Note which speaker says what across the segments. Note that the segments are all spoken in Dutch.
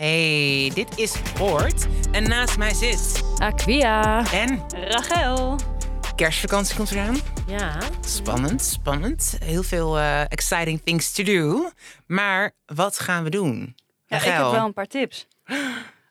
Speaker 1: hey, dit is Hoort. En naast mij zit...
Speaker 2: Aquia.
Speaker 1: En?
Speaker 2: Rachel.
Speaker 1: Kerstvakantie komt eraan.
Speaker 2: Ja.
Speaker 1: Spannend, spannend. Heel veel eh, exciting things to do. Maar wat gaan we doen?
Speaker 3: Ja, ik heb
Speaker 1: Rachel.
Speaker 3: wel een paar tips.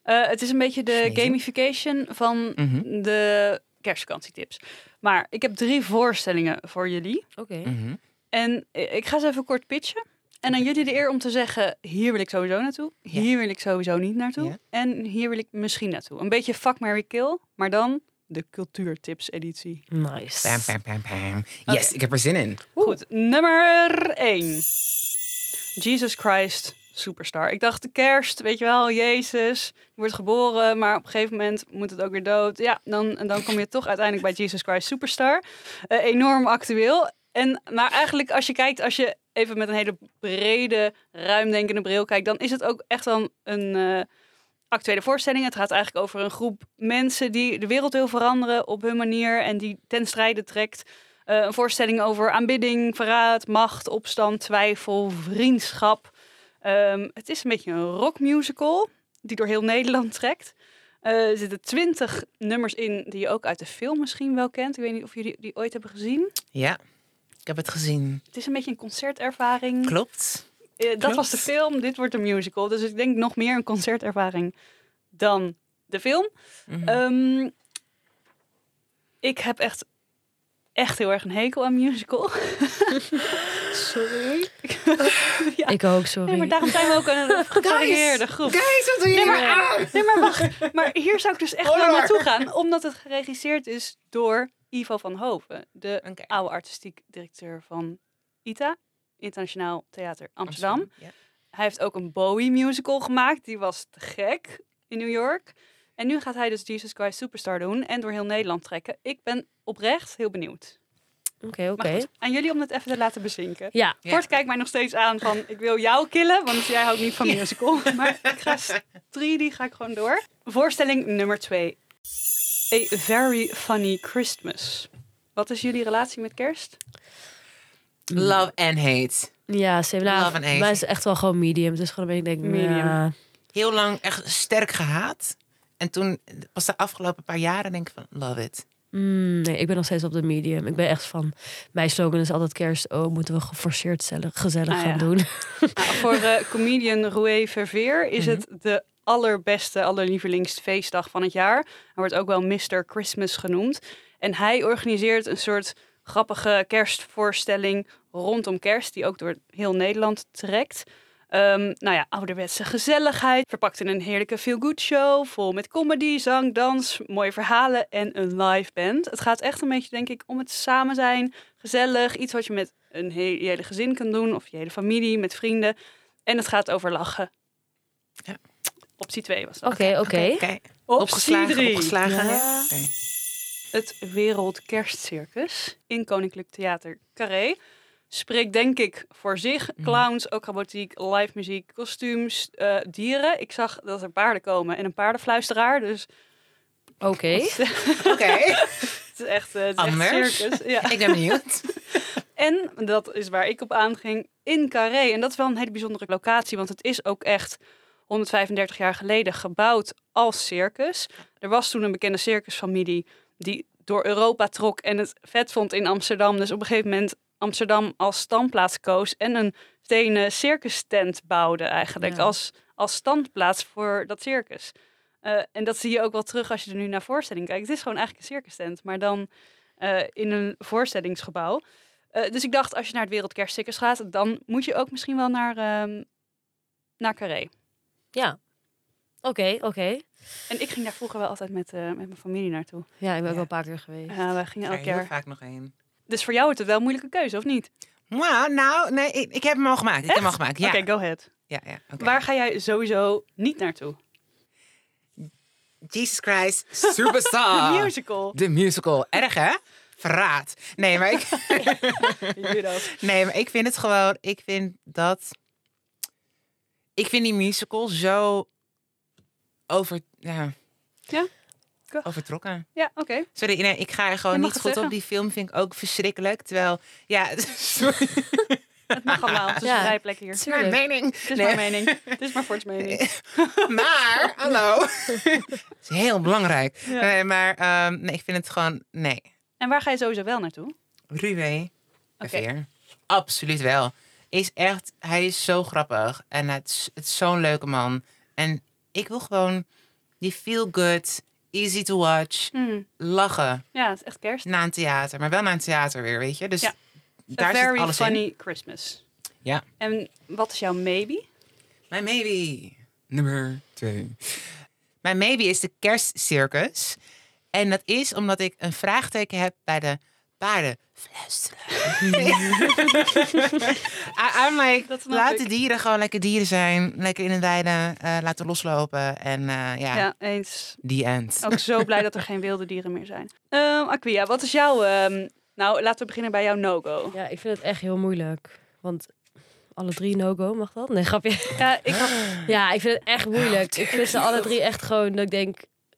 Speaker 3: Eh, het is een beetje de
Speaker 1: Sneaky.
Speaker 3: gamification van
Speaker 1: Mhm.
Speaker 3: de kerstvakantietips. Maar ik heb drie voorstellingen voor jullie.
Speaker 2: Oké.
Speaker 1: Mhm.
Speaker 3: En i- ik ga ze even kort pitchen. En aan jullie de eer om te zeggen, hier wil ik sowieso naartoe.
Speaker 1: Ja.
Speaker 3: Hier wil ik sowieso niet naartoe.
Speaker 1: Ja.
Speaker 3: En hier wil ik misschien naartoe. Een beetje fuck, Mary kill. Maar dan de cultuurtips editie.
Speaker 2: Nice.
Speaker 1: Pam, pam, pam, pam. Yes,
Speaker 3: Oké.
Speaker 1: ik heb er zin in.
Speaker 3: Goed, nummer 1. Jesus Christ Superstar. Ik dacht de kerst, weet je wel, Jezus wordt geboren, maar op een gegeven moment moet het ook weer dood. Ja, dan, en dan kom je toch uiteindelijk bij Jesus Christ Superstar. Eh, enorm actueel. En, maar eigenlijk als je kijkt, als je even met een hele brede, ruimdenkende bril kijkt, dan is het ook echt wel een eh, actuele voorstelling. Het gaat eigenlijk over een groep mensen die de wereld wil veranderen op hun manier en die ten strijde trekt eh, een voorstelling over aanbidding, verraad, macht, opstand, twijfel, vriendschap. Ehm, het is een beetje een rockmusical die door heel Nederland trekt. Eh, er zitten twintig nummers in die je ook uit de film misschien wel kent. Ik weet niet of jullie die ooit hebben gezien.
Speaker 1: Ja, ik heb het gezien.
Speaker 3: Het is een beetje een concertervaring.
Speaker 1: Klopt.
Speaker 3: Eh, dat
Speaker 1: klopt.
Speaker 3: was de film, dit wordt een musical. Dus ik denk nog meer een concertervaring dan de film.
Speaker 1: Mhm.
Speaker 3: Ehm, ik heb echt, echt heel erg een hekel aan musical. Sorry. ja.
Speaker 2: Ik ook, sorry.
Speaker 3: Nee, maar daarom zijn we ook een gevarieerde groep.
Speaker 1: Guys, wat doen
Speaker 3: Nee
Speaker 1: jullie
Speaker 3: maar,
Speaker 1: nou?
Speaker 3: ah, nee, maar wacht. Maar hier zou ik dus echt wel
Speaker 1: Horror.
Speaker 3: naartoe gaan. Omdat het geregisseerd is door Ivo van Hoven. De
Speaker 1: Oké.
Speaker 3: oude artistiek directeur van ITA. Internationaal Theater Amsterdam.
Speaker 1: Ja.
Speaker 3: Hij heeft ook een Bowie musical gemaakt. Die was te gek in New York. En nu gaat hij dus Jesus Christ Superstar doen en door heel Nederland trekken. Ik ben oprecht heel benieuwd.
Speaker 2: Oké, oké.
Speaker 3: Maar goed, aan jullie om het even te laten bezinken.
Speaker 2: Ja.
Speaker 1: Ja.
Speaker 3: Kort kijkt mij nog steeds aan van ik wil jou killen, want dus jij houdt niet van musical. Maar ik ga s- drie, die ga ik gewoon door. Voorstelling nummer twee. A Very Funny Christmas. Wat is jullie relatie met kerst?
Speaker 1: Love and hate.
Speaker 2: Ja, ze hebben nou,
Speaker 1: Love and
Speaker 2: voor
Speaker 1: hate.
Speaker 2: mij is het echt wel gewoon medium. Het is gewoon een beetje, denk ik,
Speaker 3: Medium.
Speaker 2: ja.
Speaker 1: Heel lang echt sterk gehaat. En toen, pas de afgelopen paar jaren, denk ik van, love it.
Speaker 2: Mm, nee, ik ben nog steeds op de medium. Ik ben echt van, mijn slogan is altijd kerst. Oh, moeten we geforceerd zellig- gezellig
Speaker 3: Ah,
Speaker 2: gaan
Speaker 3: ja.
Speaker 2: doen.
Speaker 3: Nou, voor eh, comedian Roué Verveer is het de allerbeste, allerlievelingst feestdag van het jaar. Hij wordt ook wel Mr. Christmas genoemd. En hij organiseert een soort grappige kerstvoorstelling rondom kerst, die ook door heel Nederland trekt. Ehm, nou ja, ouderwetse gezelligheid, verpakt in een heerlijke feel-good show, vol met comedy, zang, dans, mooie verhalen en een live band. Het gaat echt een beetje, denk ik, om het samen zijn, gezellig, iets wat je met een he- je hele gezin kan doen of je hele familie, met vrienden. En het gaat over lachen.
Speaker 1: Ja.
Speaker 3: Optie 2 was dat.
Speaker 2: Oké, oké.
Speaker 1: Oké.
Speaker 3: Optie
Speaker 1: Opgeslagen,
Speaker 3: 3.
Speaker 1: opgeslagen.
Speaker 2: Ja.
Speaker 1: Oké.
Speaker 3: Het Wereldkerstcircus in Koninklijk Theater Carré. Spreekt denk ik voor zich. Clowns, acrobatiek, live muziek, kostuums, eh, dieren. Ik zag dat er paarden komen en een paardenfluisteraar. Dus
Speaker 2: Oké.
Speaker 1: Oké.
Speaker 3: het is echt, eh, het is echt
Speaker 1: Anders.
Speaker 3: circus. Ja.
Speaker 1: Ik ben benieuwd.
Speaker 3: En dat is waar ik op aanging in Carré. En dat is wel een hele bijzondere locatie, want het is ook echt 135 jaar geleden gebouwd als circus. Er was toen een bekende circusfamilie die door Europa trok en het vet vond in Amsterdam. Dus op een gegeven moment Amsterdam als standplaats koos en een stenen circustent bouwde eigenlijk
Speaker 2: Ja.
Speaker 3: als, als standplaats voor dat circus. Eh, en dat zie je ook wel terug als je er nu naar voorstelling kijkt. Het is gewoon eigenlijk een circustent, maar dan eh, in een voorstellingsgebouw. Eh, dus ik dacht, als je naar het Wereldkerstcircus gaat, dan moet je ook misschien wel naar, ehm, naar Carré.
Speaker 2: Ja. Oké, oké.
Speaker 3: En ik ging daar vroeger wel altijd met, eh, met mijn familie naartoe.
Speaker 2: Ja, ik ben ook
Speaker 1: Ja.
Speaker 2: wel een paar keer geweest.
Speaker 3: Ja, wij gingen
Speaker 1: Daar
Speaker 3: elke
Speaker 1: heel
Speaker 3: keer.
Speaker 1: vaak nog één.
Speaker 3: Dus voor jou wordt het wel een moeilijke keuze, of niet?
Speaker 1: Nou, nou, nee, ik, ik heb hem al gemaakt. Ik heb hem al gemaakt. Ja,
Speaker 3: Oké, go ahead.
Speaker 1: ja, ja. oké.
Speaker 3: Waar ga jij sowieso niet naartoe?
Speaker 1: Jesus Christ, Superstar.
Speaker 3: De musical.
Speaker 1: De musical. Erg, hè? Verraad. Nee, maar ik,
Speaker 3: Judo.
Speaker 1: nee, maar ik vind het gewoon... Ik vind dat... Ik vind die musical zo over, ja,
Speaker 3: Ja?
Speaker 1: overtrokken.
Speaker 3: Ja, oké.
Speaker 1: Sorry, nee, ik ga er
Speaker 3: Je
Speaker 1: gewoon
Speaker 3: mag
Speaker 1: niet goed
Speaker 3: het zeggen.
Speaker 1: op. Die film vind ik ook verschrikkelijk. Terwijl, ja, sorry.
Speaker 3: Het mag allemaal. Het is
Speaker 2: Ja.
Speaker 3: een vrije plek hier. Het
Speaker 1: Mijn
Speaker 2: Tuurlijk.
Speaker 1: mening.
Speaker 3: is mijn mening. Het is maar Fort's mening.
Speaker 1: Maar, hallo. Het is heel belangrijk.
Speaker 3: Ja.
Speaker 1: Nee, maar ehm, nee, ik vind het gewoon, nee.
Speaker 3: En waar ga je sowieso wel naartoe?
Speaker 1: Ruwe.
Speaker 3: Oké.
Speaker 1: Veer. Absoluut wel. Is echt, hij is zo grappig. En het is, het is zo'n leuke man. En ik wil gewoon die feel good, easy to watch,
Speaker 3: Hm.
Speaker 1: lachen.
Speaker 3: Ja, het is echt kerst.
Speaker 1: Na een theater, maar wel naar een theater weer, weet je. Dus
Speaker 3: Ja.
Speaker 1: daar
Speaker 3: A
Speaker 1: zit
Speaker 3: very
Speaker 1: alles
Speaker 3: funny
Speaker 1: in.
Speaker 3: Christmas.
Speaker 1: Ja.
Speaker 3: En wat is jouw maybe?
Speaker 1: Mijn maybe. Nummer twee. Mijn maybe is de kerstcircus. En dat is omdat ik een vraagteken heb bij de paarden fluisteren. I- I'm like,
Speaker 3: Dat snap
Speaker 1: laat
Speaker 3: ik.
Speaker 1: de dieren gewoon lekker dieren zijn. Lekker in de weide. eh, laten loslopen. En eh, ja,
Speaker 3: Ja, Oh. eens.
Speaker 1: the end.
Speaker 3: Ook zo blij dat er geen wilde dieren meer zijn. Ehm Aquia, wat is jouw... ehm, nou, laten we beginnen bij jouw no-go.
Speaker 2: Ja, ik vind het echt heel moeilijk. Want alle drie no-go, mag dat? Nee, grapje.
Speaker 3: Ja, ik had...
Speaker 2: Ja, ik vind het echt moeilijk. Ik vind ze alle drie echt gewoon dat ik denk...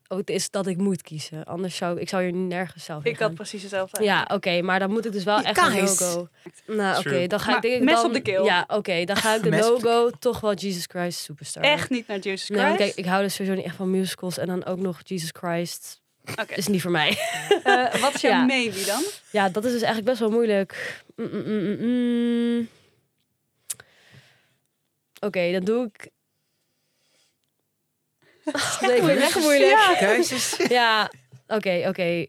Speaker 2: Oh, het is dat ik moet kiezen. Anders zou ik zou hier nergens zelf in
Speaker 3: Ik had
Speaker 2: gaan.
Speaker 3: precies hetzelfde.
Speaker 2: Ja, oké, maar dan moet ik dus wel
Speaker 1: Je
Speaker 2: echt een
Speaker 1: guys.
Speaker 2: no-go. Nou, oké,
Speaker 4: True.
Speaker 2: dan ga
Speaker 3: Maar
Speaker 2: ik denk ik
Speaker 3: mes
Speaker 2: dan-
Speaker 3: op de keel.
Speaker 2: Ja, oké, dan ga ik de
Speaker 1: Mes op de
Speaker 2: no-go toch wel Jesus Christ Superstar.
Speaker 3: Echt niet naar Jesus
Speaker 2: Nee, want
Speaker 3: Christ?
Speaker 2: kijk, ik hou dus sowieso niet echt van musicals en dan ook nog Jesus Christ.
Speaker 3: Oké.
Speaker 2: Is niet voor mij.
Speaker 3: Eh, wat is jouw
Speaker 2: Ja.
Speaker 3: maybe dan?
Speaker 2: Ja, dat is dus eigenlijk best wel moeilijk. Mm, mm, mm, mm, mm. Oké, dan doe ik. nee, ik vind het echt moeilijk. Ja,
Speaker 1: Keuzes.
Speaker 2: oké, oké.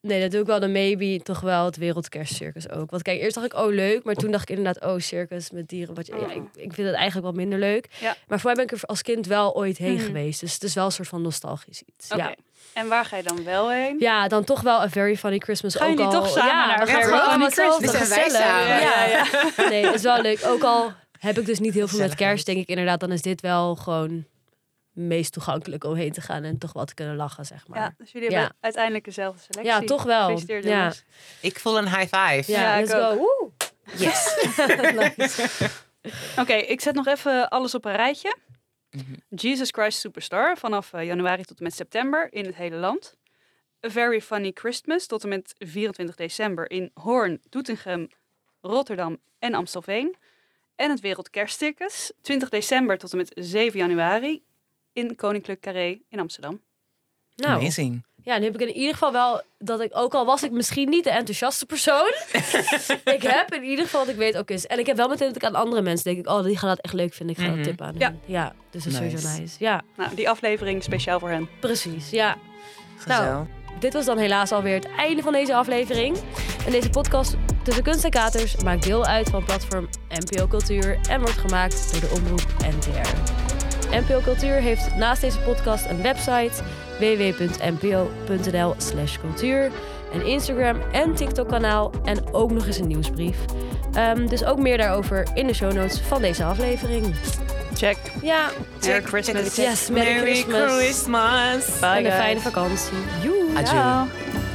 Speaker 2: Nee, dat doe ik wel. Dan maybe toch wel het wereldkerstcircus ook. Want kijk, eerst dacht ik, oh leuk. Maar toen dacht ik inderdaad, oh circus met dieren. Wat, je- ja, ik, ik vind het eigenlijk wel minder leuk.
Speaker 3: Oh. Ja.
Speaker 2: Maar voor mij ben ik er als kind wel ooit heen
Speaker 3: Mhm.
Speaker 2: geweest. Dus het is wel een soort van nostalgisch iets.
Speaker 3: Oké.
Speaker 2: Ja.
Speaker 3: En waar ga je dan wel heen?
Speaker 2: Ja, dan toch wel een Very Funny Christmas.
Speaker 3: Gaan
Speaker 2: ook
Speaker 3: jullie
Speaker 2: al-
Speaker 3: toch samen
Speaker 2: ja,
Speaker 3: naar
Speaker 2: dan
Speaker 3: A
Speaker 2: gaan we
Speaker 1: Very
Speaker 2: gewoon
Speaker 1: Funny
Speaker 2: allemaal hetzelfde,
Speaker 1: Christmas? Dit zijn wij
Speaker 2: gezellig.
Speaker 1: samen.
Speaker 2: Ja,
Speaker 3: Ja, ja.
Speaker 2: Nee, het is wel leuk. Ook al heb ik dus niet heel veel met
Speaker 1: Gezelligheid.
Speaker 2: kerst, denk ik inderdaad, dan is dit wel gewoon meest toegankelijk om heen te gaan en toch wel te kunnen lachen, zeg maar.
Speaker 3: Ja,
Speaker 2: Ja,
Speaker 3: dus jullie
Speaker 2: Ja.
Speaker 3: hebben uiteindelijk dezelfde selectie.
Speaker 2: toch wel.
Speaker 3: Gefeliciteerd,
Speaker 2: Ja.
Speaker 3: jongens.
Speaker 1: Ik voel een high five.
Speaker 3: Ja, ik
Speaker 2: let's go. Woe.
Speaker 1: Yes.
Speaker 3: Oké, ik zet nog even alles op een rijtje.
Speaker 1: Mhm.
Speaker 3: Jesus Christ Superstar vanaf eh, januari tot en met september in het hele land. A Very Funny Christmas tot en met 24 december in Hoorn, Doetinchem, Rotterdam en Amstelveen. En het Wereldkerstcircus 20 december tot en met 7 januari in Koninklijk Carré in Amsterdam.
Speaker 2: Nou,
Speaker 1: Amazing.
Speaker 2: ja, nu heb ik in ieder geval wel dat ik, ook al was ik misschien niet de enthousiaste persoon, ik heb in ieder geval dat ik weet ook is. En ik heb wel meteen dat ik aan andere mensen denk, ik, oh, die gaan dat echt leuk vinden, ik ga
Speaker 1: Mhm.
Speaker 2: dat tip aan.
Speaker 3: Ja.
Speaker 2: hun. ja, dus dat is
Speaker 1: Nice.
Speaker 2: sowieso nice. Ja,
Speaker 3: Nou, die aflevering speciaal voor hen.
Speaker 2: precies. Ja.
Speaker 1: Gezel.
Speaker 3: Nou.
Speaker 2: Dit was dan helaas alweer het einde van deze aflevering. En deze podcast tussen kunst en katers maakt deel uit van platform NPO Cultuur en wordt gemaakt door de omroep NTR. NPO Cultuur heeft naast deze podcast een website www.npo.nl/cultuur, een Instagram en TikTok kanaal en ook nog eens een nieuwsbrief. Ehm, dus ook meer daarover in de show notes van deze aflevering.
Speaker 3: Check.
Speaker 2: Ja,
Speaker 3: Merry Christmas.
Speaker 2: Yes, Merry Christmas.
Speaker 1: Christmas.
Speaker 3: Bye,
Speaker 2: en een
Speaker 3: guys.
Speaker 2: fijne vakantie. Joe.
Speaker 1: Adieu.
Speaker 3: Ciao.